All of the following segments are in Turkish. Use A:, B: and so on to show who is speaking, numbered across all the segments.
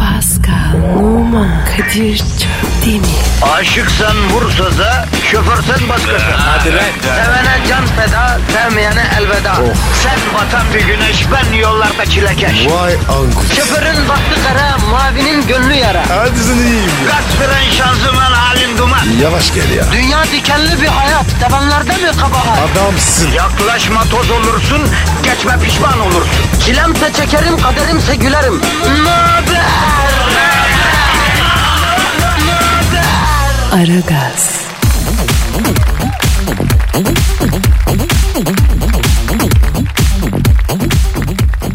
A: Pascal, Oman, Kadir çok değil mi?
B: Aşıksan vursa da şoförsen başkasın. Hadi
C: lan.
B: Sevene can feda, sevmeyene elveda. Sen batan bir güneş, ben yollarda çilekeş.
C: Vay anku.
B: Şoförün baktı kara, mavinin gönlü yara.
C: Hadi sen iyiyim ya.
B: Kasperen şanzıman halin duman.
C: Yavaş gel ya.
B: Dünya dikenli bir hayat, sevenlerde mi kabahar?
C: Adamsın.
B: Yaklaşma toz olursun, geçme pişman olursun. Çilemse çekerim, kaderimse gülerim. Möber!
A: Aragaz,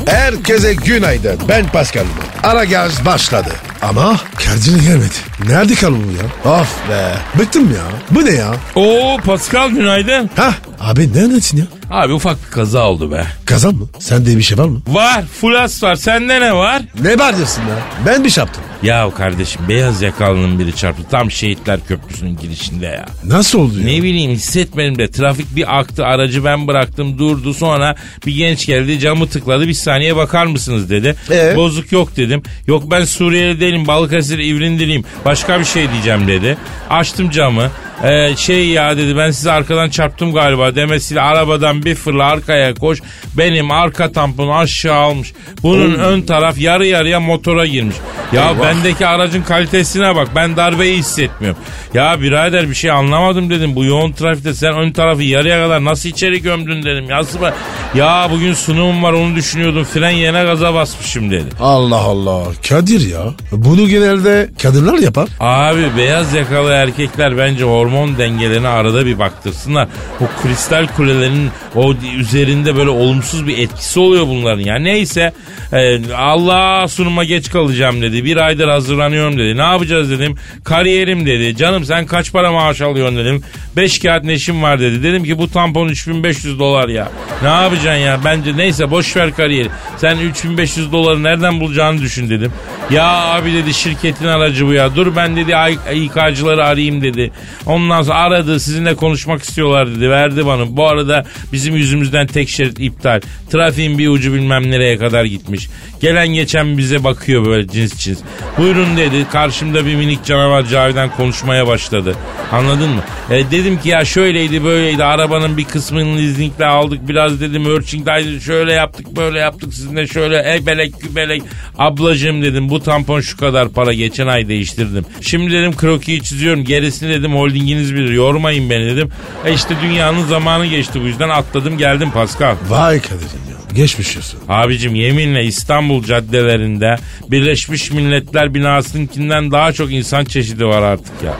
C: Herkese günaydın. Ben Pascal. Ara gaz başladı. Ama kendine gelmedi. Nerede kaldı bu ya? Of be. Bıktım ya. Bu ne ya?
D: Oo Pascal günaydın.
C: Hah. Abi neredesin ya?
D: Abi ufak bir kaza oldu be.
C: Kazan mı? Sende bir şey var mı?
D: Var fulas var sende ne var?
C: Ne bağırıyorsun ya? Ben bir şey yaptım.
D: Ya kardeşim beyaz yakalının biri çarptı tam şehitler köprüsünün girişinde ya.
C: Nasıl oldu ya?
D: Ne bileyim hissetmedim de trafik bir aktı aracı ben bıraktım durdu sonra bir genç geldi camı tıkladı bir saniye bakar mısınız dedi.
C: Ee?
D: Bozuk yok dedim. Yok ben Suriyeli değilim Balıkesir İvrindiliyim başka bir şey diyeceğim dedi. Açtım camı. Ee, şey ya dedi ben sizi arkadan çarptım galiba demesiyle arabadan bir fırla arkaya koş benim arka tampon aşağı almış bunun ön taraf yarı yarıya motora girmiş ya bendeki aracın kalitesine bak ben darbeyi hissetmiyorum ya birader bir şey anlamadım dedim bu yoğun trafikte sen ön tarafı yarıya kadar nasıl içeri gömdün dedim ya, sıba- ya bugün sunumum var onu düşünüyordum fren yerine gaza basmışım dedi
C: Allah Allah. Kadir ya. Bunu genelde kadınlar yapar.
D: Abi beyaz yakalı erkekler bence hormon dengelerine arada bir baktırsınlar. O kristal kulelerinin o di- üzerinde böyle olumsuz bir etkisi oluyor bunların. Ya neyse e, Allah sunuma geç kalacağım dedi. Bir aydır hazırlanıyorum dedi. Ne yapacağız dedim. Kariyerim dedi. Canım sen kaç para maaş alıyorsun dedim. 5 kağıt neşim var dedi. Dedim ki bu tampon 3500 dolar ya. Ne yapacaksın ya? Bence neyse boş ver kariyeri. Sen 3500 doları nereden bulacağını düşün dedim. Ya abi dedi şirketin aracı bu ya. Dur ben dedi ay- İK'cıları arayayım dedi. Ondan sonra aradı sizinle konuşmak istiyorlar dedi. Verdi bana. Bu arada bizim yüzümüzden tek şerit iptal. Trafiğin bir ucu bilmem nereye kadar gitmiş. Gelen geçen bize bakıyor böyle cins cins. Buyurun dedi. Karşımda bir minik canavar Cavidan konuşmaya başladı. Anladın mı? E, dedim ki ya şöyleydi böyleydi. Arabanın bir kısmını lizingle aldık. Biraz dedim merchandise şöyle yaptık böyle yaptık. Sizinle şöyle ebelek gübelek. Ablacığım dedim bu tampon şu kadar para. Geçen ay değiştirdim. Şimdi dedim krokiyi çiziyorum. Gerisini dedim holdinginiz bilir. Yormayın beni dedim. E işte dünyanın zamanı geçti bu yüzden atladım geldim Pascal.
C: Vay Kadir ya. Geçmiş olsun.
D: Abicim yeminle İstanbul caddelerinde Birleşmiş Milletler binasınınkinden daha çok insan çeşidi var artık ya.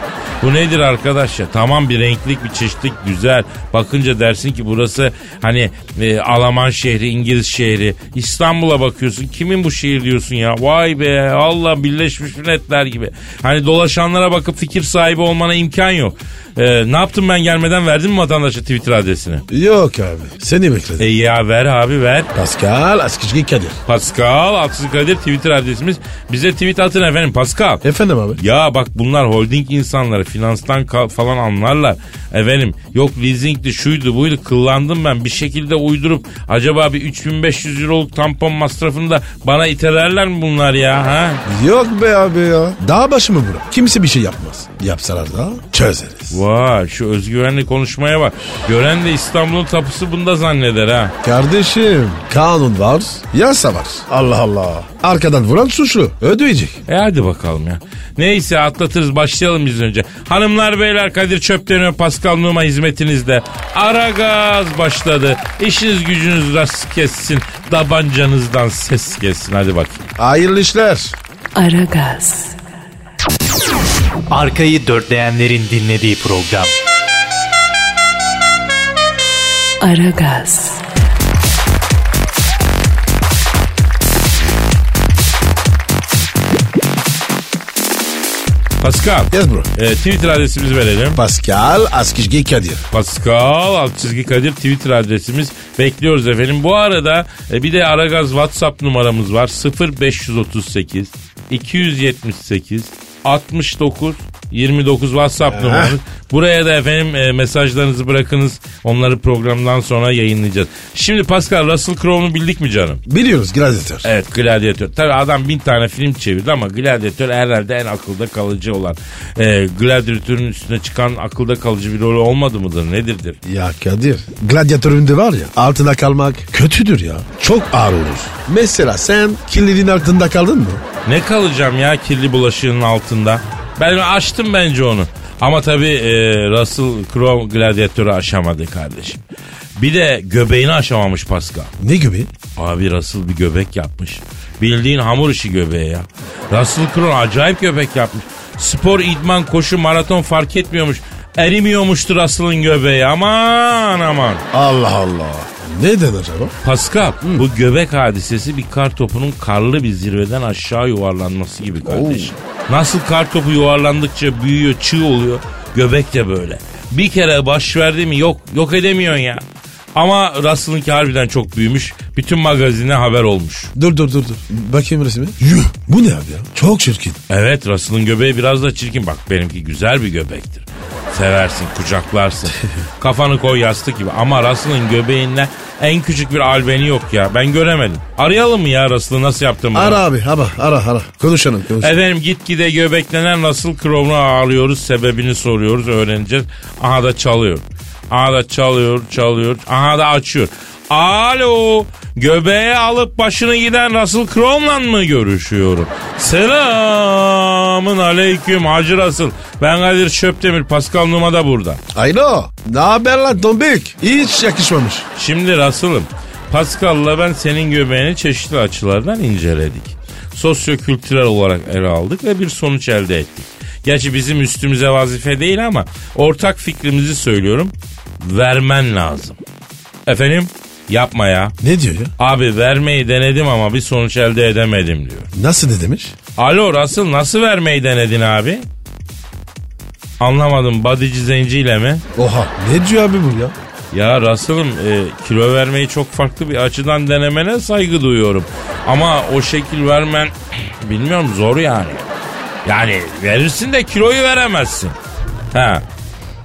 D: Bu nedir arkadaş ya? Tamam bir renklik bir çeşitlik güzel. Bakınca dersin ki burası hani e, Alman şehri, İngiliz şehri. İstanbul'a bakıyorsun. Kimin bu şehir diyorsun ya? Vay be Allah Birleşmiş Milletler gibi. Hani dolaşanlara bakıp fikir sahibi olmana imkan yok. E, ne yaptım ben gelmeden verdim mi vatandaşa Twitter adresini?
C: Yok abi. Seni bekledim.
D: E ya ver abi ver.
C: Pascal Askışki Kadir.
D: Pascal Aksız Kadir Twitter adresimiz. Bize tweet atın efendim Pascal.
C: Efendim abi.
D: Ya bak bunlar holding insanları finanstan ka- falan anlarlar. Efendim yok leasingdi şuydu buydu kıllandım ben bir şekilde uydurup acaba bir 3500 euroluk tampon masrafını da bana itelerler mi bunlar ya ha?
C: Yok be abi ya. Dağ başı mı bura? Kimse bir şey yapmaz. Yapsalar da çözeriz.
D: Vay şu özgüvenli konuşmaya bak. Gören de İstanbul'un tapusu bunda zanneder ha.
C: Kardeşim kanun var, yasa var. Allah Allah. Arkadan vuran suçlu. Ödeyecek.
D: E hadi bakalım ya. Neyse atlatırız başlayalım biz önce. Hanımlar beyler Kadir Çöpten'e Pascal Numa hizmetinizde. Ara gaz başladı. İşiniz gücünüz rast kessin. Dabancanızdan ses kessin hadi bakayım.
C: Hayırlı işler.
A: Aragaz,
E: Arkayı dörtleyenlerin dinlediği program.
A: Aragaz,
D: Pascal.
C: Yes bro.
D: e, Twitter adresimizi verelim.
C: Pascal Askizgi Kadir.
D: Pascal alt çizgi Kadir Twitter adresimiz. Bekliyoruz efendim. Bu arada e, bir de Aragaz WhatsApp numaramız var. 0538 278 69 29 WhatsApp numaramız. Buraya da efendim e, mesajlarınızı bırakınız. Onları programdan sonra yayınlayacağız. Şimdi Pascal Russell Crowe'nu bildik mi canım?
C: Biliyoruz gladyatör.
D: Evet gladyatör. Tabii adam bin tane film çevirdi ama gladyatör herhalde en akılda kalıcı olan. E, gladyatörün üstüne çıkan akılda kalıcı bir rolü olmadı mıdır nedirdir?
C: Ya Kadir gladyatöründe var ya altında kalmak kötüdür ya. Çok ağır olur. Mesela sen kirlerin altında kaldın mı?
D: Ne kalacağım ya kirli bulaşığın altında? Ben açtım bence onu. Ama tabii e, Russell Crowe gladyatörü aşamadı kardeşim. Bir de göbeğini aşamamış Pascal.
C: Ne gibi?
D: Abi Russell bir göbek yapmış. Bildiğin hamur işi göbeği ya. Russell Crowe acayip göbek yapmış. Spor, idman, koşu, maraton fark etmiyormuş. Erimiyormuştu Russell'ın göbeği aman aman.
C: Allah Allah. Neden acaba?
D: Pascal bu göbek hadisesi bir kar topunun karlı bir zirveden aşağı yuvarlanması gibi kardeşim. Nasıl kar topu yuvarlandıkça büyüyor çığ oluyor göbek de böyle. Bir kere baş verdi mi yok yok edemiyorsun ya. Ama Russell'ınki harbiden çok büyümüş. Bütün magazine haber olmuş.
C: Dur dur dur dur. Bakayım resmi. Yuh. Bu ne abi ya? Çok çirkin.
D: Evet Russell'ın göbeği biraz da çirkin. Bak benimki güzel bir göbektir. Seversin, kucaklarsın. Kafanı koy yastık gibi. Ama Russell'ın göbeğinde en küçük bir albeni yok ya. Ben göremedim. Arayalım mı ya Russell'ı nasıl yaptın bunu?
C: Ara abi ara ara ara. Konuşalım konuşalım.
D: Efendim gitgide göbeklenen Russell Crowe'u ağırlıyoruz. Sebebini soruyoruz, öğreneceğiz. Aha da çalıyor. Aha da çalıyor, çalıyor. Aha da açıyor. Alo, göbeğe alıp başını giden Russell Crowe'la mı görüşüyorum? Selamın aleyküm Hacı Russell. Ben Kadir Çöptemir, Pascal Numa da burada.
C: Alo. Ne haber lan Dombik? Hiç yakışmamış.
D: Şimdi Russell'ım Pascal'la ben senin göbeğini çeşitli açılardan inceledik. Sosyokültürel olarak ele aldık ve bir sonuç elde ettik. Gerçi bizim üstümüze vazife değil ama ortak fikrimizi söylüyorum. Vermen lazım. Efendim? Yapma ya.
C: Ne diyor ya?
D: Abi vermeyi denedim ama bir sonuç elde edemedim diyor.
C: Nasıl ne demiş?
D: Alo Russell nasıl vermeyi denedin abi? Anlamadım badici zenciyle mi?
C: Oha. Ne diyor abi bu ya?
D: Ya Russell'ım e, kilo vermeyi çok farklı bir açıdan denemene saygı duyuyorum. Ama o şekil vermen bilmiyorum zor yani. Yani verirsin de kiloyu veremezsin. Ha.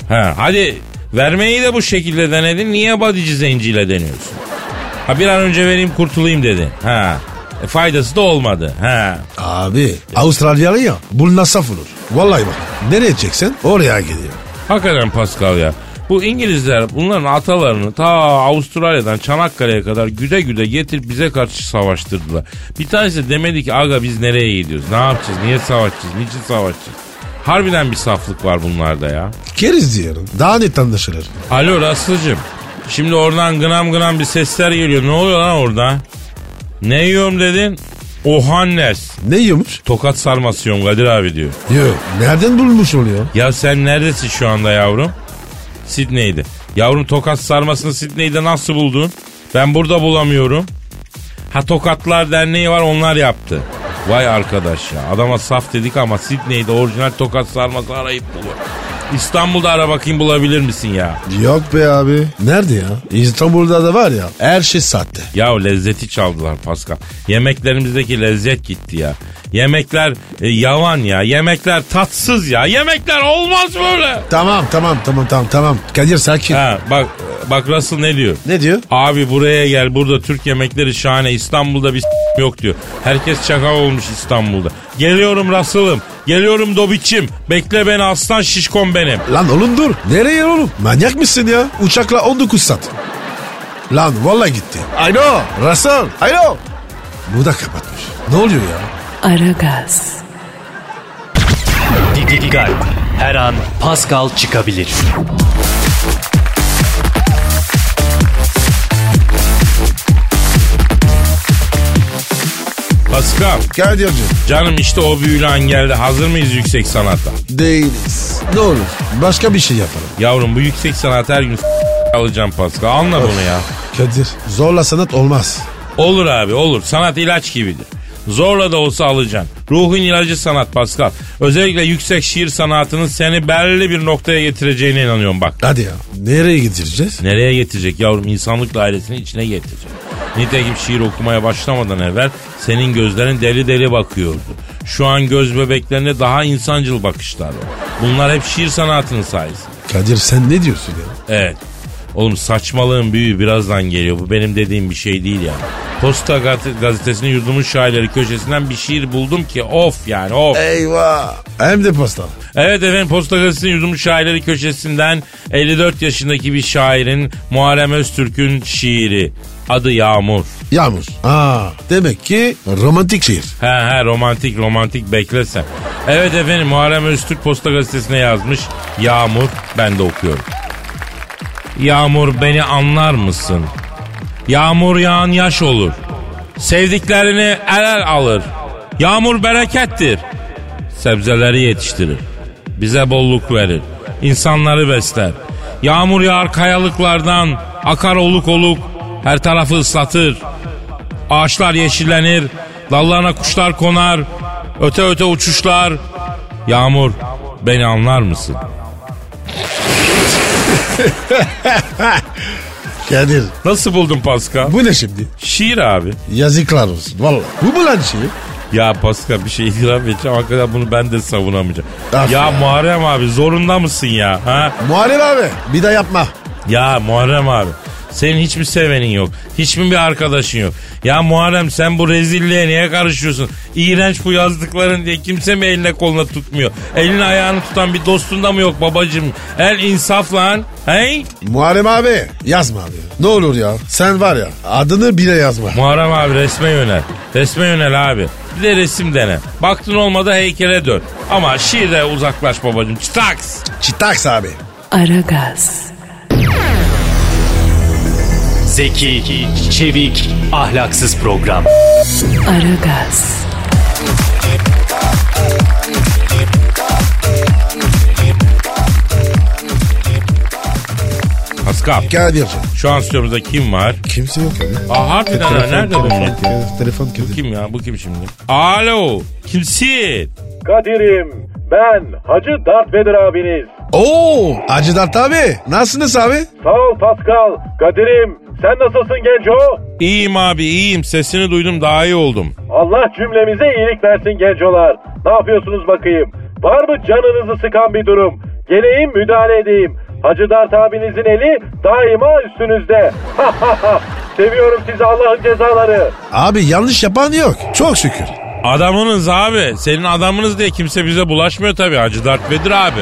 D: Ha hadi vermeyi de bu şekilde denedin. Niye badici zenciyle deniyorsun? Ha bir an önce vereyim kurtulayım dedi. Ha. E, faydası da olmadı. Ha.
C: Abi Avustralyalı ya. Bu nasaf olur. Vallahi bak. Nereye çeksen oraya gidiyor.
D: Hakikaten Pascal ya. Bu İngilizler bunların atalarını ta Avustralya'dan Çanakkale'ye kadar güde güde getirip bize karşı savaştırdılar. Bir tanesi de demedi ki aga biz nereye gidiyoruz? Ne yapacağız? Niye savaşacağız? Niçin savaşacağız? Harbiden bir saflık var bunlarda ya.
C: Keriz diyorum. Daha net anlaşılır.
D: Alo Raslıcığım. Şimdi oradan gınam gınam bir sesler geliyor. Ne oluyor lan orada? Ne yiyorum dedin? Ohannes.
C: Ne yiyormuş?
D: Tokat sarması yiyorum Kadir abi diyor.
C: Yok. Nereden bulmuş oluyor?
D: Ya sen neredesin şu anda yavrum? Sidney'de. Yavrum tokat sarmasını Sidney'de nasıl buldun? Ben burada bulamıyorum. Ha Tokatlar Derneği var onlar yaptı. Vay arkadaş ya adama saf dedik ama Sidney'de orijinal tokat sarması arayıp bulur. İstanbul'da ara bakayım bulabilir misin ya?
C: Yok be abi. Nerede ya? İstanbul'da da var ya. Her şey sahte.
D: Ya lezzeti çaldılar Pascal. Yemeklerimizdeki lezzet gitti ya. Yemekler e, yavan ya. Yemekler tatsız ya. Yemekler olmaz böyle.
C: Tamam tamam tamam tamam tamam. Kadir sakin.
D: Ha bak bak Russell ne diyor?
C: Ne diyor?
D: Abi buraya gel burada Türk yemekleri şahane İstanbul'da bir s- yok diyor. Herkes çakal olmuş İstanbul'da. Geliyorum Russell'ım. Geliyorum Dobiç'im. Bekle beni aslan şişkom benim.
C: Lan oğlum dur. Nereye oğlum? Manyak mısın ya? Uçakla 19 saat. Lan vallahi gitti. Alo. Rasal. Alo. Bu da kapatmış. Ne oluyor ya?
A: Aragaz,
E: Didi Digal. Her an Pascal çıkabilir.
D: Pascal
C: Kadir'cim.
D: canım işte o büyülü an geldi. Hazır mıyız yüksek sanata?
C: Değiliz. Ne olur. Başka bir şey yapalım.
D: Yavrum bu yüksek sanat her gün s- alacağım Pascal. Anla bunu ya.
C: Kadir. Zorla sanat olmaz.
D: Olur abi olur. Sanat ilaç gibidir. Zorla da olsa alacaksın. Ruhun ilacı sanat Pascal. Özellikle yüksek şiir sanatının seni belli bir noktaya getireceğine inanıyorum bak.
C: Hadi ya. Nereye gideceğiz?
D: Nereye getirecek yavrum? İnsanlık dairesinin içine getirecek. Nitekim şiir okumaya başlamadan evvel senin gözlerin deli deli bakıyordu. Şu an göz bebeklerinde daha insancıl bakışlar var. Bunlar hep şiir sanatının sayesinde.
C: Kadir sen ne diyorsun ya?
D: Evet. Oğlum saçmalığın büyüğü birazdan geliyor. Bu benim dediğim bir şey değil yani. Posta gaz- gazetesinin yurdumun şairleri köşesinden bir şiir buldum ki of yani of.
C: Eyvah. Hem de pasta.
D: Evet efendim Posta Gazetesi'nin yudum şairleri köşesinden 54 yaşındaki bir şairin Muharrem Öztürk'ün şiiri. Adı Yağmur.
C: Yağmur. Aa, demek ki romantik şiir.
D: He he romantik romantik beklesen. Evet efendim Muharrem Öztürk Posta Gazetesi'ne yazmış. Yağmur ben de okuyorum. Yağmur beni anlar mısın? Yağmur yağan yaş olur. Sevdiklerini el el alır. Yağmur berekettir. Sebzeleri yetiştirir. Bize bolluk verir. İnsanları besler. Yağmur yağar kayalıklardan. Akar oluk oluk. Her tarafı ıslatır. Ağaçlar yeşillenir. Dallarına kuşlar konar. Öte öte uçuşlar. Yağmur beni anlar mısın?
C: Kadir.
D: Nasıl buldun Pascal?
C: Bu ne şimdi?
D: Şiir abi.
C: Yazıklar olsun. Vallahi. Bu mu lan şiir?
D: Ya Pascal bir şey itiraf edeceğim. Hakikaten bunu ben de savunamayacağım.
C: Af
D: ya,
C: ya.
D: Muharrem abi zorunda mısın ya? Ha?
C: Muharrem abi. Bir daha yapma.
D: Ya Muharrem abi. Senin hiçbir sevenin yok. Hiçbir bir arkadaşın yok. Ya Muharrem sen bu rezilliğe niye karışıyorsun? İğrenç bu yazdıkların diye kimse mi eline koluna tutmuyor? Elini ayağını tutan bir dostun da mı yok babacığım? El insaf lan. Hey?
C: Muharrem abi. Yazma abi. Ne olur ya. Sen var ya. Adını bile yazma.
D: Muharrem abi resme yönel. Resme yönel abi. Bir de resim dene. Baktın olmadı heykele dön. Ama şiirde uzaklaş babacığım. Çıtaks.
C: Çitaks abi.
A: Aragaz,
E: Zeki, çevik, ahlaksız program.
A: Aragaz,
D: Pascal.
C: Kadir.
D: Şu an stüdyomuzda kim var?
C: şey. Kimse yok abi.
D: Aa harbiden ha, nerede bu?
C: Telefon, telefon
D: Bu kim ya? Bu kim şimdi? Alo. Kimsin?
F: Kadir'im ben Hacı Dert Vedir abiniz.
C: Oo, Hacı Dert abi. Nasılsınız abi?
F: Sağ ol Pascal. Kadir'im sen nasılsın genco?
D: İyiyim abi iyiyim. Sesini duydum daha iyi oldum.
F: Allah cümlemize iyilik versin gencolar. Ne yapıyorsunuz bakayım? Var mı canınızı sıkan bir durum? Geleyim müdahale edeyim. Hacı Dert abinizin eli daima üstünüzde. Seviyorum sizi Allah'ın cezaları.
C: Abi yanlış yapan yok. Çok şükür.
D: Adamınız abi. Senin adamınız diye kimse bize bulaşmıyor tabii. Hacı Dert Vedir abi.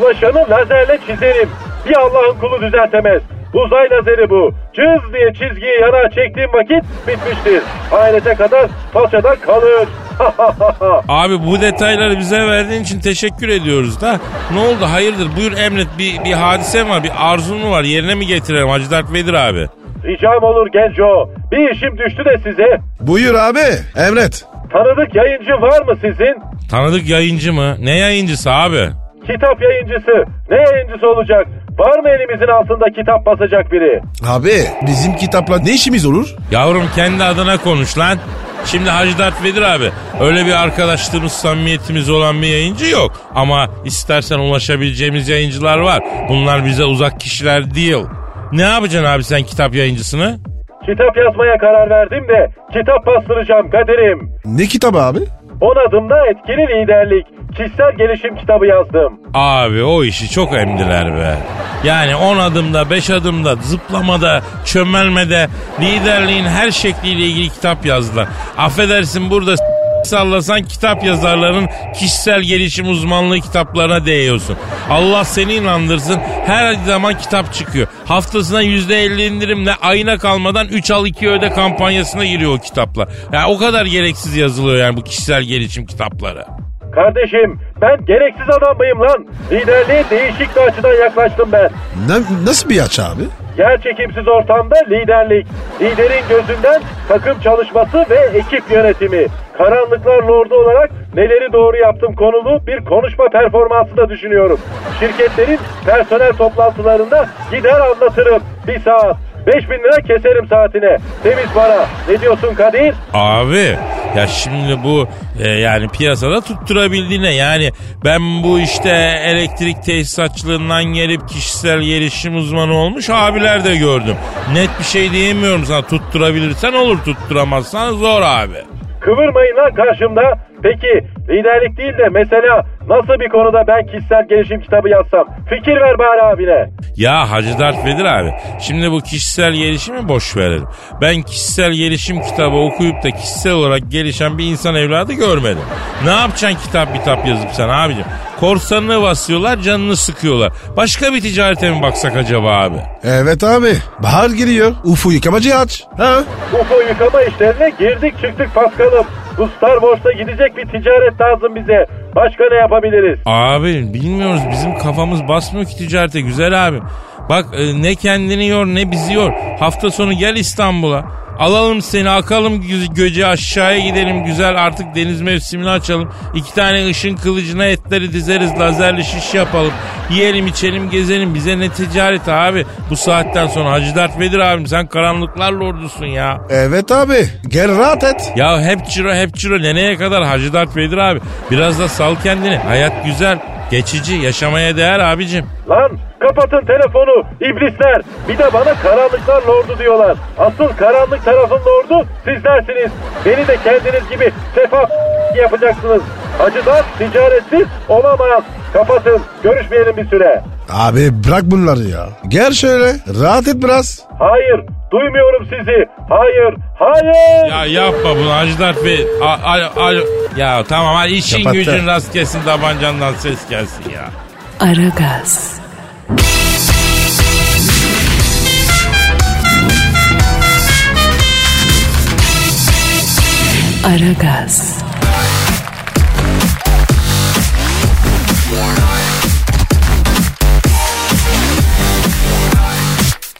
F: Ulaşanı lazerle çizerim. Bir Allah'ın kulu düzeltemez. Uzay lazeri bu. Cız diye çizgiyi yana çektiğim vakit bitmiştir. Ahirete kadar paçada kalır.
D: Abi bu detayları bize verdiğin için teşekkür ediyoruz da. Ne oldu hayırdır? Buyur emret bir, bir hadise mi var? Bir arzun mu var? Yerine mi getirelim Hacı Dert Vedir abi?
F: Ricam olur genco. Bir işim düştü de size.
C: Buyur abi. Emret.
F: Tanıdık yayıncı var mı sizin?
D: Tanıdık yayıncı mı? Ne yayıncısı abi?
F: Kitap yayıncısı. Ne yayıncısı olacak? Var mı elimizin altında kitap basacak biri?
C: Abi bizim kitapla ne işimiz olur?
D: Yavrum kendi adına konuş lan. Şimdi Hacı Dert Vedir abi öyle bir arkadaşlığımız samimiyetimiz olan bir yayıncı yok. Ama istersen ulaşabileceğimiz yayıncılar var. Bunlar bize uzak kişiler değil. Ne yapacaksın abi sen kitap yayıncısını?
F: Kitap yazmaya karar verdim de kitap bastıracağım kaderim.
C: Ne kitabı abi?
F: On adımda etkili liderlik. Kişisel gelişim kitabı yazdım.
D: Abi o işi çok emdiler be. Yani 10 adımda, 5 adımda, zıplamada, çömelmede, liderliğin her şekliyle ilgili kitap yazdılar. Affedersin burada s- sallasan kitap yazarlarının kişisel gelişim uzmanlığı kitaplarına değiyorsun. Allah seni inandırsın her zaman kitap çıkıyor. Haftasına %50 indirimle ayına kalmadan 3 al 2 öde kampanyasına giriyor o kitaplar. Yani o kadar gereksiz yazılıyor yani bu kişisel gelişim kitapları.
F: Kardeşim ben gereksiz adam mıyım lan? Liderliğe değişik bir açıdan yaklaştım ben.
C: Ne- nasıl bir aç abi?
F: Yer çekimsiz ortamda liderlik. Liderin gözünden takım çalışması ve ekip yönetimi. Karanlıklar Lordu olarak neleri doğru yaptım konulu bir konuşma performansı da düşünüyorum. Şirketlerin personel toplantılarında gider anlatırım. Bir saat. 5000 lira keserim saatine. Temiz para. Ne diyorsun Kadir?
D: Abi ya şimdi bu e, yani piyasada tutturabildiğine yani ben bu işte elektrik tesisatçılığından gelip kişisel gelişim uzmanı olmuş abiler de gördüm. Net bir şey diyemiyorum sana tutturabilirsen olur tutturamazsan zor abi.
F: Kıvırmayın lan karşımda. Peki liderlik değil de mesela nasıl bir konuda ben kişisel gelişim kitabı yazsam? Fikir ver bari abine.
D: Ya Hacı Dert Vedir abi. Şimdi bu kişisel gelişimi boş verelim. Ben kişisel gelişim kitabı okuyup da kişisel olarak gelişen bir insan evladı görmedim. Ne yapacaksın kitap kitap yazıp sen abicim? Korsanını basıyorlar canını sıkıyorlar. Başka bir ticarete mi baksak acaba abi?
C: Evet abi. Bahar giriyor. Ufu yıkamacı aç. Ha?
F: UFO yıkama işlerine girdik çıktık paskalım. Bu Star Wars'ta gidecek bir ticaret lazım bize. Başka ne yapabiliriz?
D: Abi bilmiyoruz bizim kafamız basmıyor ki ticarete güzel abi. Bak e, ne kendini yor ne bizi yor. Hafta sonu gel İstanbul'a. Alalım seni akalım gö- göce aşağıya gidelim güzel artık deniz mevsimini açalım. İki tane ışın kılıcına etleri dizeriz lazerli şiş yapalım. Yiyelim içelim gezelim bize ne ticaret abi. Bu saatten sonra Hacı Dert Vedir abim sen karanlıklar lordusun ya.
C: Evet abi. Gel rahat et.
D: Ya hep ciro hep ciro neneye kadar Hacı Dert Vedir abi. Biraz da sal kendini. Hayat güzel, geçici, yaşamaya değer abicim.
F: Lan kapatın telefonu iblisler. Bir de bana karanlıklar lordu diyorlar. Asıl karanlık tarafın lordu sizlersiniz. Beni de kendiniz gibi sefa yapacaksınız. Acıdan ticaretsiz olamaz. Kapatın. Görüşmeyelim bir süre.
C: Abi bırak bunları ya. Gel şöyle. Rahat et biraz.
F: Hayır. Duymuyorum sizi. Hayır. Hayır.
D: Ya yapma bunu Hacı Dert Vedir. A- a- a- ya tamam hadi işin
C: Kapattı.
D: gücün rast gelsin tabancandan ses gelsin ya.
A: Aragaz, Aragaz,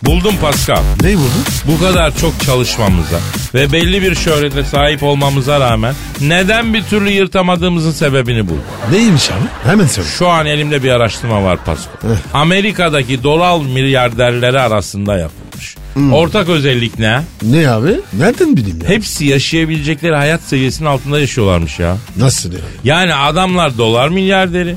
D: Buldum Pascal.
C: Neyi buldun?
D: Bu kadar çok çalışmamıza ve belli bir şöhrete sahip olmamıza rağmen neden bir türlü yırtamadığımızın sebebini buldum.
C: Neymiş abi? Hemen söyle.
D: Şu an elimde bir araştırma var Pasko. Amerika'daki dolar milyarderleri arasında yapılmış. Ortak özellik ne?
C: Ne abi? Nereden bileyim ya?
D: Hepsi yaşayabilecekleri hayat seviyesinin altında yaşıyorlarmış ya.
C: Nasıl ya?
D: Yani adamlar dolar milyarderi.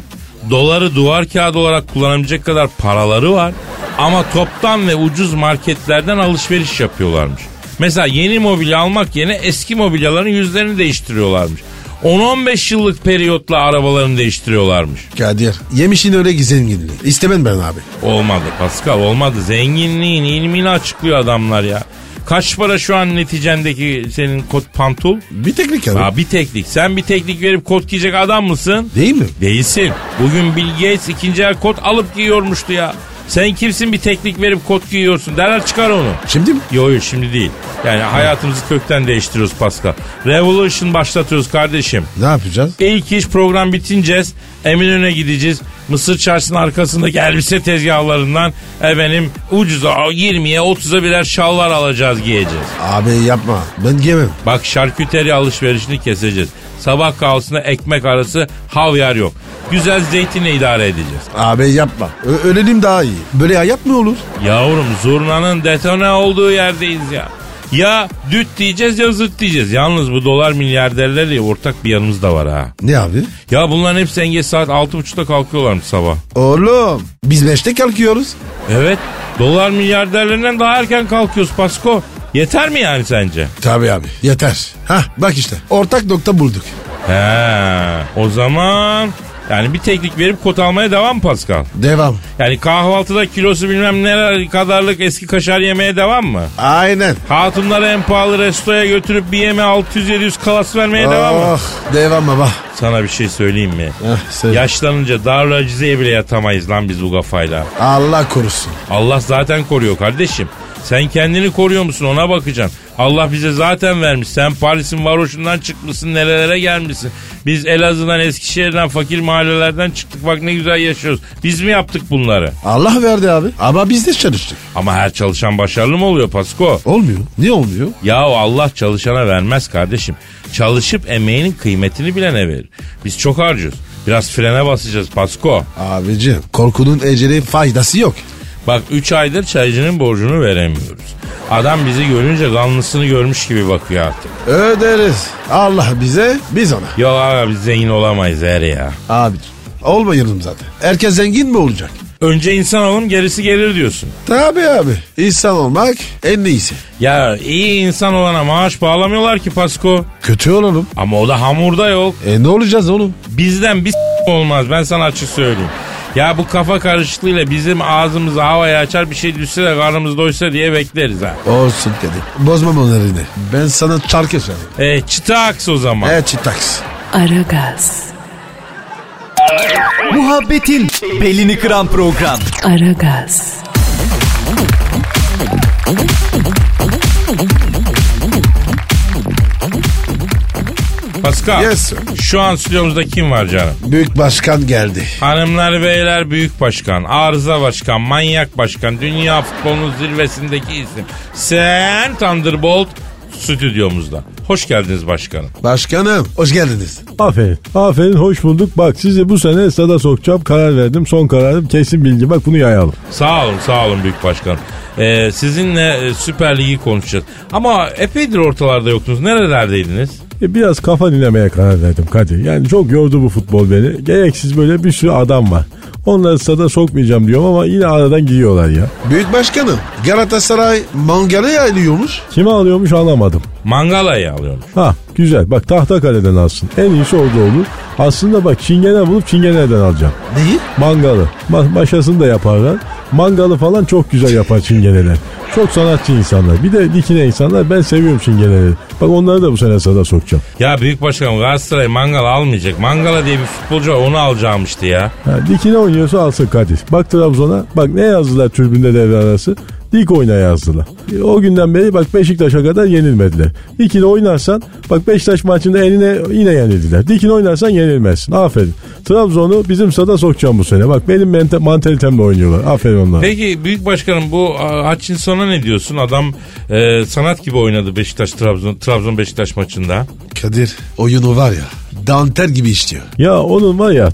D: Doları duvar kağıdı olarak kullanabilecek kadar paraları var. Ama toptan ve ucuz marketlerden alışveriş yapıyorlarmış. Mesela yeni mobilya almak yerine eski mobilyaların yüzlerini değiştiriyorlarmış. 10-15 yıllık periyotla arabalarını değiştiriyorlarmış.
C: Kadir. Yemişin öyle gizem gidili. İstemem ben abi.
D: Olmadı Pascal olmadı. Zenginliğin ilmini açıklıyor adamlar ya. Kaç para şu an neticendeki senin kot pantul?
C: Bir teknik abi.
D: Aa, bir teklik. Sen bir teklik verip kot giyecek adam mısın?
C: Değil mi?
D: Değilsin. Bugün Bill Gates ikinci el kot alıp giyiyormuştu ya. Sen kimsin bir teklik verip kot giyiyorsun? Derler çıkar onu.
C: Şimdi mi?
D: Yo yo şimdi değil. Yani hayatımızı kökten değiştiriyoruz Pascal. Revolution başlatıyoruz kardeşim.
C: Ne yapacağız?
D: İlk iş program bitineceğiz. Eminönü'ne gideceğiz. Mısır çarşısının arkasındaki elbise tezgahlarından efendim ucuza 20'ye 30'a birer şalvar alacağız giyeceğiz.
C: Abi yapma. Ben giyemem.
D: Bak şarküteri alışverişini keseceğiz. Sabah kahvaltısında ekmek arası havyar yok. Güzel zeytinle idare edeceğiz.
C: Abi yapma. Ö- ölelim daha iyi. Böyle hayat mı olur?
D: Yavrum zurnanın detone olduğu yerdeyiz ya. Ya düt diyeceğiz ya zıt diyeceğiz. Yalnız bu dolar milyarderleri ortak bir yanımız da var ha.
C: Ne abi?
D: Ya bunların hepsi enge saat 6.30'da kalkıyorlarmış sabah.
C: Oğlum biz beşte kalkıyoruz.
D: Evet. Dolar milyarderlerinden daha erken kalkıyoruz Pasko. Yeter mi yani sence?
C: Tabii abi yeter. Hah bak işte ortak nokta bulduk.
D: He. O zaman yani bir teknik verip kot almaya devam Pascal.
C: Devam.
D: Yani kahvaltıda kilosu bilmem ne kadarlık eski kaşar yemeye devam mı?
C: Aynen.
D: Hatunları en pahalı restoya götürüp bir yeme 600-700 kalas vermeye devam mı?
C: Ah, devam baba.
D: Sana bir şey söyleyeyim mi?
C: Ah, söyle.
D: Yaşlanınca dar acizeye bile yatamayız lan biz bu kafayla.
C: Allah korusun.
D: Allah zaten koruyor kardeşim. Sen kendini koruyor musun ona bakacaksın. Allah bize zaten vermiş. Sen Paris'in varoşundan çıkmışsın nerelere gelmişsin. Biz Elazığ'dan Eskişehir'den fakir mahallelerden çıktık bak ne güzel yaşıyoruz. Biz mi yaptık bunları?
C: Allah verdi abi. Ama biz de çalıştık.
D: Ama her çalışan başarılı mı oluyor Pasko?
C: Olmuyor. Niye olmuyor?
D: Yahu Allah çalışana vermez kardeşim. Çalışıp emeğinin kıymetini bilene verir. Biz çok harcıyoruz. Biraz frene basacağız Pasko.
C: Abicim korkunun eceli faydası yok.
D: Bak 3 aydır çaycının borcunu veremiyoruz. Adam bizi görünce kanlısını görmüş gibi bakıyor artık.
C: Öderiz. Allah bize biz ona.
D: Ya abi biz zengin olamayız her ya.
C: Abicim olmayalım zaten. Herkes zengin mi olacak?
D: Önce insan olun gerisi gelir diyorsun.
C: Tabii abi. İnsan olmak en iyisi.
D: Ya iyi insan olana maaş bağlamıyorlar ki Pasko.
C: Kötü olalım.
D: Ama o da hamurda yok.
C: E ne olacağız oğlum?
D: Bizden bir s- olmaz ben sana açık söyleyeyim. Ya bu kafa karışıklığıyla bizim ağzımızı havaya açar bir şey düşse de karnımız doysa diye bekleriz ha.
C: Olsun dedim. Bozmam onları yine. Ben sana şarkı söyleyeyim.
D: E, çıta aks o zaman.
C: Evet çıtaks.
A: Aragaz,
E: Muhabbetin belini kıran program.
A: Aragaz,
D: Pascal.
C: Yes, sir.
D: Şu an stüdyomuzda kim var canım?
C: Büyük başkan geldi.
D: Hanımlar beyler büyük başkan, arıza başkan, manyak başkan, dünya futbolunun zirvesindeki isim. Sen Thunderbolt stüdyomuzda. Hoş geldiniz başkanım.
C: Başkanım hoş geldiniz.
G: Aferin. Aferin hoş bulduk. Bak sizi bu sene estada sokacağım. Karar verdim. Son kararım kesin bilgi. Bak bunu yayalım.
D: Sağ olun, sağ olun büyük başkanım. Ee, sizinle e, Süper Lig'i konuşacağız. Ama epeydir ortalarda yoktunuz. Nerelerdeydiniz?
G: E, biraz kafa dinlemeye karar verdim Kadir. Yani çok yordu bu futbol beni. Gereksiz böyle bir sürü adam var. Onları stada sokmayacağım diyorum ama yine aradan giriyorlar ya.
C: Büyük başkanım Galatasaray mangalı yayılıyormuş.
G: Kime alıyormuş anlamadım.
D: Mangala'yı alıyorum.
G: Ha güzel bak Tahtakale'den alsın. En iyisi orada olur. Aslında bak çingene bulup çingeneden alacağım.
C: Neyi?
G: Mangalı. Ma- maşasını da yaparlar. Mangalı falan çok güzel yapar çingeneler. Çok sanatçı insanlar. Bir de dikine insanlar. Ben seviyorum çingeneleri. Bak onları da bu sene sada sokacağım.
D: Ya büyük başkanım Galatasaray Mangala almayacak. Mangala diye bir futbolcu var, onu alacağım işte ya.
G: Ha, dikine oynuyorsa alsın Kadir. Bak Trabzon'a. Bak ne yazdılar tribünde devre arası. Dik oyna yazdılar. E, o günden beri bak Beşiktaş'a kadar yenilmediler. Dikine oynarsan bak Beşiktaş maçında eline yine yenildiler. Dikine oynarsan yenilmezsin. Aferin. Trabzon'u bizim sada sokacağım bu sene. Bak benim mente- mantalitemle oynuyorlar. Aferin onlara.
D: Peki büyük başkanım bu a, Hutchinson'a ne diyorsun? Adam e, sanat gibi oynadı Beşiktaş Trabzon Trabzon Beşiktaş maçında.
C: Kadir oyunu var ya danter gibi işliyor.
G: Ya onun var ya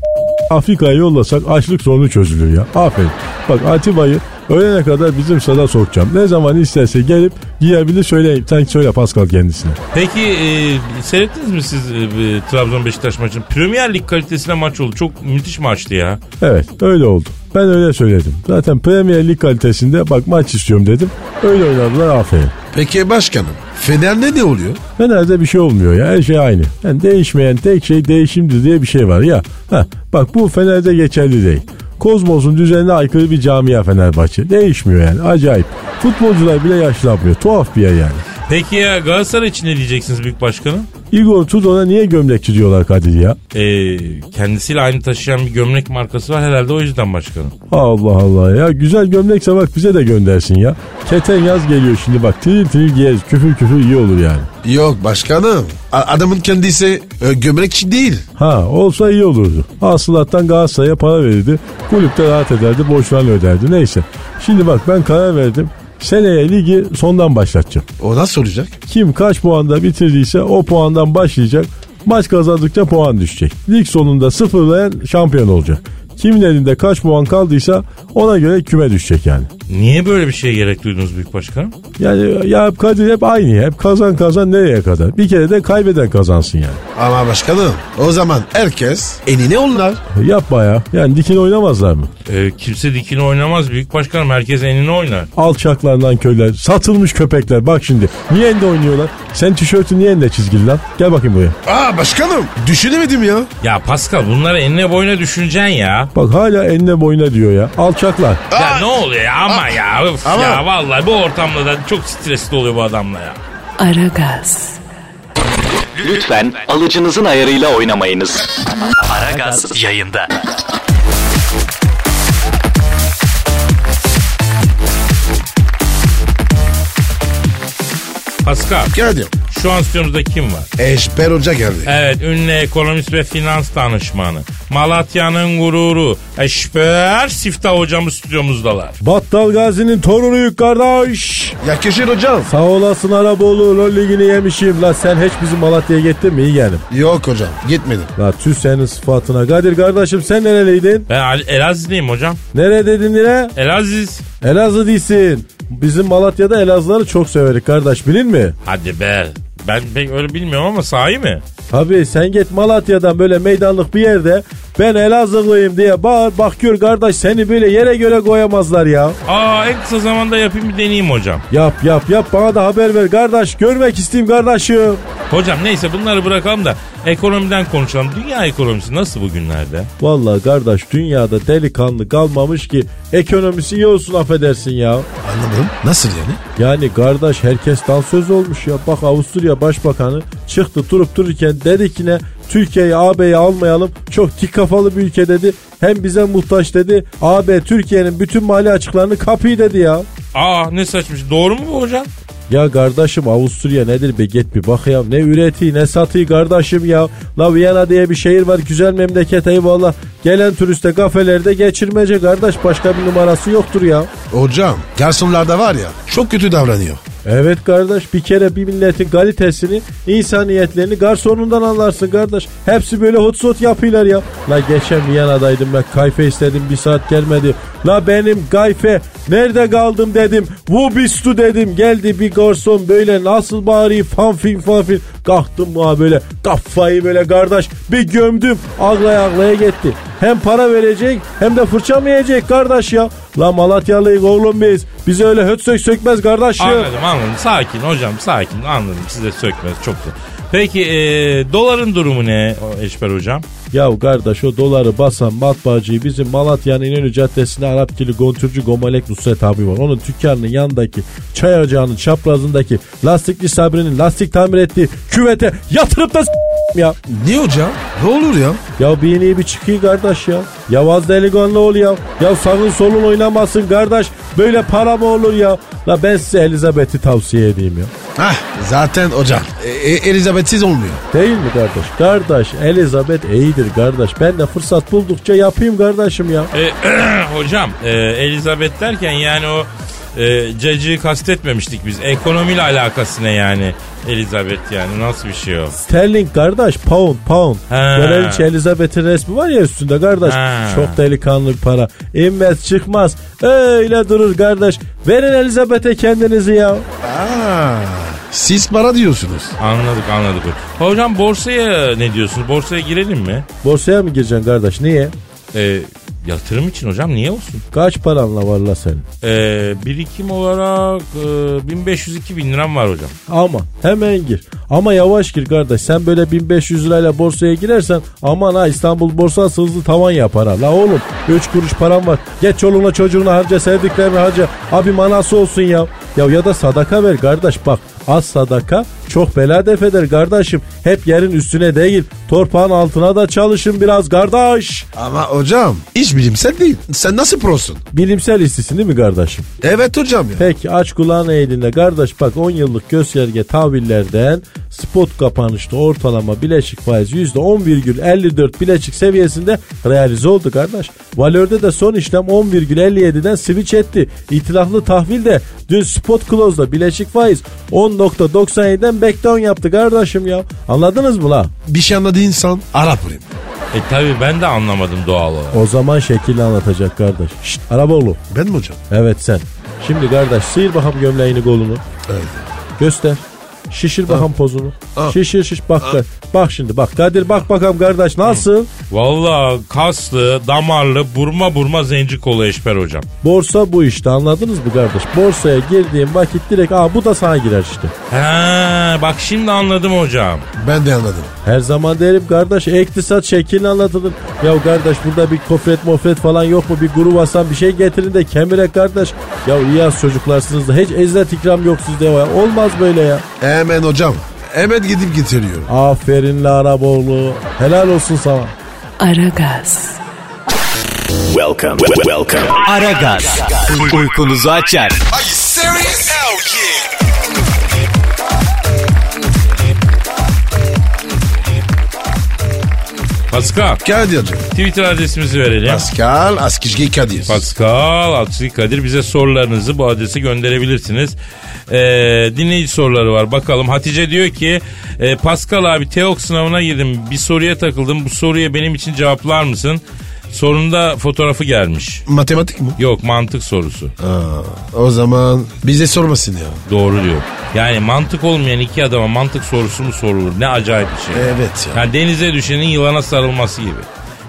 G: Afrika'ya yollasak açlık sorunu çözülür ya. Aferin. Bak Atiba'yı öğlene kadar bizim sada sokacağım. Ne zaman isterse gelip giyebilir söyleyeyim. Sen söyle Pascal kendisine.
D: Peki e, seyrettiniz mi siz e, e, Trabzon Beşiktaş maçını? Premier Lig kalitesine maç oldu. Çok müthiş maçtı ya.
G: Evet öyle oldu. Ben öyle söyledim. Zaten Premier Lig kalitesinde bak maç istiyorum dedim. Öyle oynadılar aferin.
C: Peki başkanım Fener'de ne oluyor?
G: Fener'de bir şey olmuyor ya her şey aynı. Yani değişmeyen tek şey değişimdir diye bir şey var ya. Heh, bak bu Fener'de geçerli değil. Kozmos'un düzenine aykırı bir camia Fenerbahçe. Değişmiyor yani acayip. Futbolcular bile yaşlanmıyor. Tuhaf bir yer yani.
D: Peki ya Galatasaray için ne diyeceksiniz büyük başkanım?
G: Igor Tudor'a niye gömlekçi diyorlar Kadir ya?
D: E, kendisiyle aynı taşıyan bir gömlek markası var herhalde o yüzden başkanım.
G: Allah Allah ya güzel gömlekse bak bize de göndersin ya. Keten yaz geliyor şimdi bak tiril tiril giyeriz küfür küfür iyi olur yani.
C: Yok başkanım a- adamın kendisi e, gömlekçi değil.
G: Ha olsa iyi olurdu. Hasılattan Galatasaray'a para verirdi. Kulüpte rahat ederdi. Borçlarını öderdi. Neyse. Şimdi bak ben karar verdim. Seneye ligi sondan başlatacağım.
C: O nasıl olacak?
G: Kim kaç puanda bitirdiyse o puandan başlayacak. Maç kazandıkça puan düşecek. Lig sonunda sıfırlayan şampiyon olacak. Kimin elinde kaç puan kaldıysa ona göre küme düşecek yani.
D: Niye böyle bir şeye gerek duydunuz büyük başkanım?
G: Yani ya Kadir hep aynı ya. Hep kazan kazan nereye kadar? Bir kere de kaybeden kazansın yani.
C: Ama başkanım o zaman herkes enine onlar.
G: Yapma ya. Yani dikine oynamazlar mı?
D: E, kimse dikini oynamaz büyük başkanım. Herkes enini oynar.
G: Alçaklardan köyler, satılmış köpekler. Bak şimdi niye ende oynuyorlar? Sen tişörtün niye ende çizgili lan? Gel bakayım buraya.
C: Aa başkanım düşünemedim ya.
D: Ya Pascal bunları enine boyuna düşüneceksin ya.
G: Bak hala enine boyuna diyor ya. Alçaklar.
D: Ya ne oluyor ya ama ya. Öf
C: Ama-
D: Ya vallahi bu ortamda da çok stresli oluyor bu adamla ya.
A: Aragaz,
H: Lütfen alıcınızın ayarıyla oynamayınız.
E: Aragaz yayında.
D: Pascal
C: Geldim.
D: şu an stüdyomuzda kim var?
C: Eşber Hoca geldi.
D: Evet ünlü ekonomist ve finans danışmanı. Malatya'nın gururu Eşber Siftah hocamız stüdyomuzdalar.
G: Battal Gazi'nin torunuyuk kardeş.
C: Yakışır hocam.
G: Sağ olasın Araboğlu. Rol ligini yemişim. La sen hiç bizim Malatya'ya gittin mi? İyi geldim.
C: Yok hocam gitmedim.
G: La tüh senin sıfatına. Kadir kardeşim sen nereliydin?
D: Ben Ali- Elazizliyim hocam.
G: Neredeydin yine?
D: Elaziz.
G: Elazığ değilsin. Bizim Malatya'da Elazığları çok severiz kardeş bilin mi?
D: Hadi be. Ben pek öyle bilmiyorum ama sahi mi?
G: Abi sen git Malatya'dan böyle meydanlık bir yerde Ben Elazığlıyım diye bağır bak gör kardeş seni böyle yere göre koyamazlar ya.
D: Aa en kısa zamanda yapayım bir deneyeyim hocam.
G: Yap yap yap bana da haber ver kardeş görmek isteyeyim kardeşim.
D: Hocam neyse bunları bırakalım da ekonomiden konuşalım. Dünya ekonomisi nasıl bugünlerde?
G: Vallahi kardeş dünyada delikanlı kalmamış ki ekonomisi iyi olsun affedersin ya.
C: Anlamadım. Nasıl yani?
G: Yani kardeş herkes dansöz olmuş ya. Bak Avusturya Başbakanı çıktı durup dururken dedi ki ne Türkiye'yi AB'yi almayalım. Çok dik kafalı bir ülke dedi. Hem bize muhtaç dedi. AB Türkiye'nin bütün mali açıklarını kapıyı dedi ya.
D: Aa ne saçmış doğru mu bu hocam?
G: Ya kardeşim Avusturya nedir be git bir bak ya. Ne üretiği ne satıyı kardeşim ya. La Viyana diye bir şehir var güzel memleket eyvallah. Gelen turiste kafelerde geçirmece kardeş başka bir numarası yoktur ya.
C: Hocam garsonlarda var ya çok kötü davranıyor.
G: Evet kardeş bir kere bir milletin kalitesini, insaniyetlerini garsonundan anlarsın kardeş. Hepsi böyle hotsot yapıyorlar ya. La geçen Viyana'daydım ben kayfe istedim bir saat gelmedi. La benim kayfe nerede kaldım dedim. Wubistu dedim geldi bir garson böyle nasıl bağırıyor fanfin fanfin. Kalktım ha böyle kafayı böyle kardeş bir gömdüm ağlaya ağlaya gitti. Hem para verecek hem de fırça mı yiyecek kardeş ya? La Malatyalıyız oğlum biz. Bizi öyle hötsök sökmez kardeş ya.
D: Anladım anladım sakin hocam sakin anladım size sökmez çok da. Peki e, doların durumu ne Eşber hocam?
G: Ya kardeş o doları basan matbaacıyı bizim Malatya'nın İnönü Caddesi'nde Arapkili Gontürcü Gomalek Nusret abi var. Onun dükkanının yanındaki çay ocağının çaprazındaki lastikli Sabri'nin lastik tamir ettiği küvete yatırıp da s- ya.
C: Niye hocam? Ne olur ya?
G: Ya bir yeni bir çıkıyor kardeş ya. Yavaz delikanlı ol ya. Ya sağın solun oynamasın kardeş. Böyle para mı olur ya? La ben size Elizabeth'i tavsiye edeyim ya.
C: Hah zaten hocam e, e, Elizabeth'siz olmuyor.
G: Değil mi kardeş? Kardeş Elizabeth iyidir kardeş. Ben de fırsat buldukça yapayım kardeşim ya.
D: E, hocam e, Elizabeth derken yani o e, cacığı kastetmemiştik biz. Ekonomiyle alakası ne yani Elizabeth yani nasıl bir şey o?
G: Sterling kardeş pound pound.
D: Ha.
G: Kraliçe Elizabeth'in resmi var ya üstünde kardeş.
D: Ha.
G: Çok delikanlı bir para. İnmez çıkmaz. Öyle durur kardeş. Verin Elizabeth'e kendinizi ya.
C: Aa, siz para diyorsunuz.
D: Anladık anladık. Hocam borsaya ne diyorsunuz? Borsaya girelim mi?
G: Borsaya mı gireceksin kardeş? Niye?
D: E, yatırım için hocam niye olsun?
G: Kaç paranla var la senin?
D: E, birikim olarak e, 1500-2000 liram var hocam.
G: Ama hemen gir. Ama yavaş gir kardeş. Sen böyle 1500 lirayla borsaya girersen aman ha İstanbul borsası hızlı tavan yapar ha. La oğlum 3 kuruş param var. Geç çoluğuna çocuğuna harca sevdiklerini harca. Abi manası olsun ya. Ya ya da sadaka ver kardeş bak. Az sadaka çok bela def eder kardeşim. Hep yerin üstüne değil torpağın altına da çalışın biraz kardeş.
C: Ama hocam iş bilimsel değil. Sen nasıl prosun?
G: Bilimsel istisin değil mi kardeşim?
C: Evet hocam ya.
G: Peki aç kulağını eğdiğinde kardeş bak 10 yıllık gösterge tahvillerden spot kapanışta ortalama bileşik faiz %10,54 bileşik seviyesinde realize oldu kardeş. Valörde de son işlem 10,57'den switch etti. İtilaflı tahvil de dün spot close'da bileşik faiz 10.97'den backdown yaptı kardeşim ya. Anladınız mı la?
C: Bir şey anladığı insan Arap olayım.
D: E tabi ben de anlamadım doğal olarak.
G: O zaman şekilli anlatacak kardeş. Şşt araba oğlum.
C: Ben mi hocam?
G: Evet sen. Şimdi kardeş sıyır bakalım gömleğini kolunu.
C: Evet.
G: Göster. Şişir bakalım pozunu.
C: Al.
G: Şişir şiş bak. bak. Bak şimdi bak Kadir bak bakalım kardeş nasıl?
D: Valla kaslı, damarlı, burma burma zenci kolu Eşber hocam.
G: Borsa bu işte anladınız mı kardeş? Borsaya girdiğin vakit direkt aa bu da sana girer işte.
D: He bak şimdi anladım hocam.
C: Ben de anladım.
G: Her zaman derim kardeş iktisat şeklini anlatılır. Ya kardeş burada bir kofret mofret falan yok mu? Bir guru asan bir şey getirin de kemire kardeş. Ya İyaz çocuklarsınız da hiç ezzet ikram yok sizde ya. Olmaz böyle ya.
C: Hemen hocam. Hemen gidip getiriyorum.
G: Aferin la Araboğlu. Helal olsun sana.
A: Aragaz,
E: Welcome. Welcome. Aragaz. Uykunuzu açar.
D: Pascal
C: Kadir hocam.
D: Twitter adresimizi verelim.
C: Pascal Askizgi Kadir.
D: Pascal Askizgi Kadir bize sorularınızı bu adrese gönderebilirsiniz. Ee, dinleyici soruları var bakalım. Hatice diyor ki e, Pascal abi TEOK sınavına girdim bir soruya takıldım bu soruya benim için cevaplar mısın? Sorunda fotoğrafı gelmiş.
C: Matematik mi?
D: Yok mantık sorusu.
C: Aa, o zaman bize sormasın ya.
D: Doğru diyor. Yani mantık olmayan iki adama mantık sorusu mu sorulur? Ne acayip bir şey.
C: Evet ya.
D: Yani denize düşenin yılana sarılması gibi.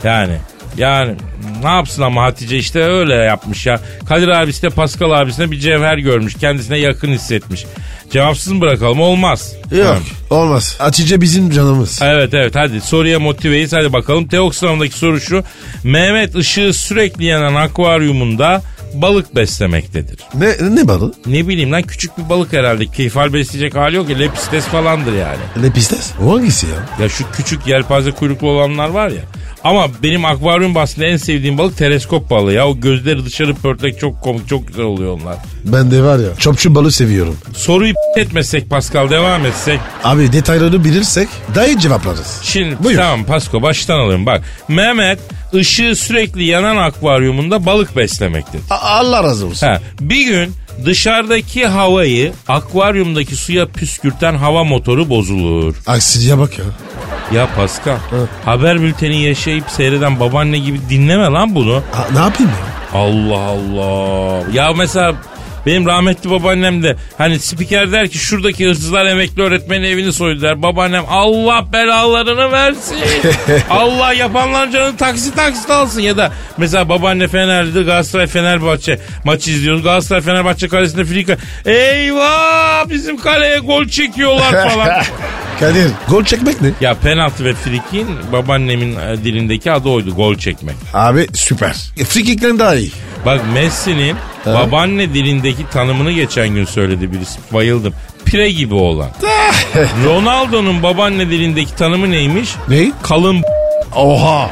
D: Yani yani ne yapsın ama Hatice işte öyle yapmış ya. Kadir abisi de Pascal abisine bir cevher görmüş. Kendisine yakın hissetmiş. Cevapsız mı bırakalım? Olmaz.
C: Yok
D: Yani.
C: olmaz. Hatice bizim canımız.
D: Evet evet hadi soruya motiveyiz hadi bakalım. Teok sınavındaki soru şu. Mehmet ışığı sürekli yanan akvaryumunda balık beslemektedir.
C: Ne, ne balı?
D: Ne bileyim lan küçük bir balık herhalde. Keyfal besleyecek hali yok ya. Lepistes falandır yani.
C: Ne pistes? O hangisi ya?
D: Ya şu küçük yelpaze kuyruklu olanlar var ya. Ama benim akvaryum bahsinde en sevdiğim balık teleskop balığı ya. O gözleri dışarı pörtlek çok komik çok güzel oluyor onlar.
C: Ben de var ya çöpçü balı seviyorum.
D: Soruyu etmesek Pascal devam etsek.
C: Abi detayları bilirsek daha iyi cevaplarız.
D: Şimdi
C: Buyur.
D: tamam Pasko baştan alayım bak. Mehmet ışığı sürekli yanan akvaryumunda balık beslemektedir.
C: A- Allah razı olsun.
D: Ha, bir gün dışarıdaki havayı akvaryumdaki suya püskürten hava motoru bozulur.
C: Aksiliğe bak ya.
D: Ya Pascal haber bülteni yaşayıp seyreden babaanne gibi dinleme lan bunu.
C: A- ne yapayım ya?
D: Allah Allah. Ya mesela benim rahmetli babaannem de hani spiker der ki şuradaki hırsızlar emekli öğretmenin evini soydu der. Babaannem Allah belalarını versin. Allah yapanların canını taksi taksi alsın ya da mesela babaanne Fener'di Galatasaray Fenerbahçe maçı izliyoruz. Galatasaray Fenerbahçe kalesinde Frika. Eyvah bizim kaleye gol çekiyorlar falan.
C: Kadir gol çekmek ne?
D: ya penaltı ve frikin babaannemin e, dilindeki adı oydu gol çekmek.
C: Abi süper. E, free kick'lerin daha iyi.
D: Bak Messi'nin babaanne dilindeki tanımını geçen gün söyledi birisi. Bayıldım. Pire gibi olan.
C: Eh,
D: Ronaldo'nun babaanne dilindeki tanımı neymiş?
C: Ne?
D: Kalın b-
C: Oha.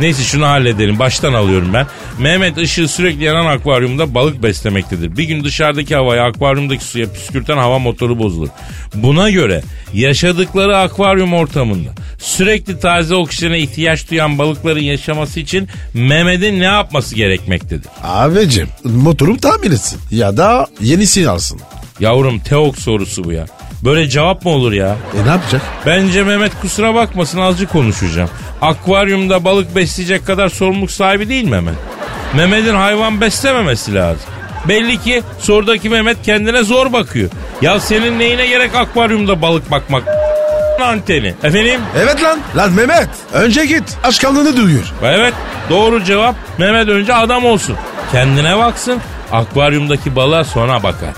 D: Neyse şunu halledelim. Baştan alıyorum ben. Mehmet ışığı sürekli yanan akvaryumda balık beslemektedir. Bir gün dışarıdaki havayı akvaryumdaki suya püskürten hava motoru bozulur. Buna göre yaşadıkları akvaryum ortamında sürekli taze oksijene ihtiyaç duyan balıkların yaşaması için Mehmet'in ne yapması gerekmektedir?
C: Abicim motoru tamir etsin. Ya da yenisini alsın.
D: Yavrum teok sorusu bu ya. Böyle cevap mı olur ya?
C: E ne yapacak?
D: Bence Mehmet kusura bakmasın azıcık konuşacağım. Akvaryumda balık besleyecek kadar sorumluluk sahibi değil Mehmet. Mehmet'in hayvan beslememesi lazım. Belli ki sorudaki Mehmet kendine zor bakıyor. Ya senin neyine gerek akvaryumda balık bakmak? Anteni. Efendim?
C: Evet lan. Lan Mehmet. Önce git. Aşkanlığını duyuyor.
D: Evet doğru cevap Mehmet önce adam olsun. Kendine baksın akvaryumdaki balığa sonra bakar.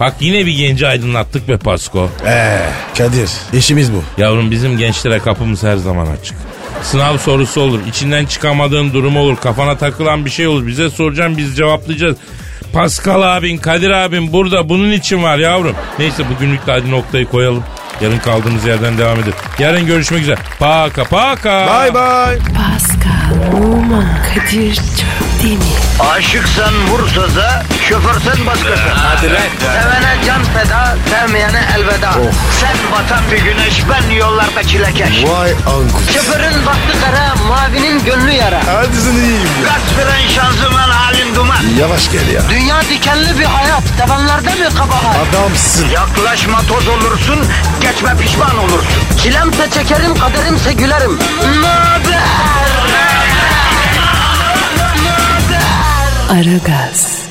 D: Bak yine bir genci aydınlattık be Pasko.
C: Eee Eh, Kadir işimiz bu.
D: Yavrum bizim gençlere kapımız her zaman açık. Sınav sorusu olur, içinden çıkamadığın durum olur, kafana takılan bir şey olur. Bize soracaksın biz cevaplayacağız. Pascal abin, Kadir abin burada bunun için var yavrum. Neyse bugünlük de hadi noktayı koyalım. Yarın kaldığımız yerden devam edelim. Yarın görüşmek üzere. Paka paka.
C: Bye bye.
A: Pascal, Oman, Kadir çok değil mi?
B: Aşıksan vursa da, şoförsen başkasın. Hadi Sevene can feda, sevmeyene elveda. Sen batan bir güneş, ben yollarda çilekeş.
C: Vay anku.
B: Şoförün baktı kara, mavinin gönlü yara.
C: Hadi sen iyiyim ya.
B: Kasperen şanzıman halin duman.
C: Yavaş gel ya.
B: Dünya dikenli bir hayat, sevenlerde mi kabahar?
C: Adamsın.
B: Yaklaşma toz olursun, geçme pişman olursun. Çilemse çekerim, kaderimse gülerim. Möber!
A: Aragaz.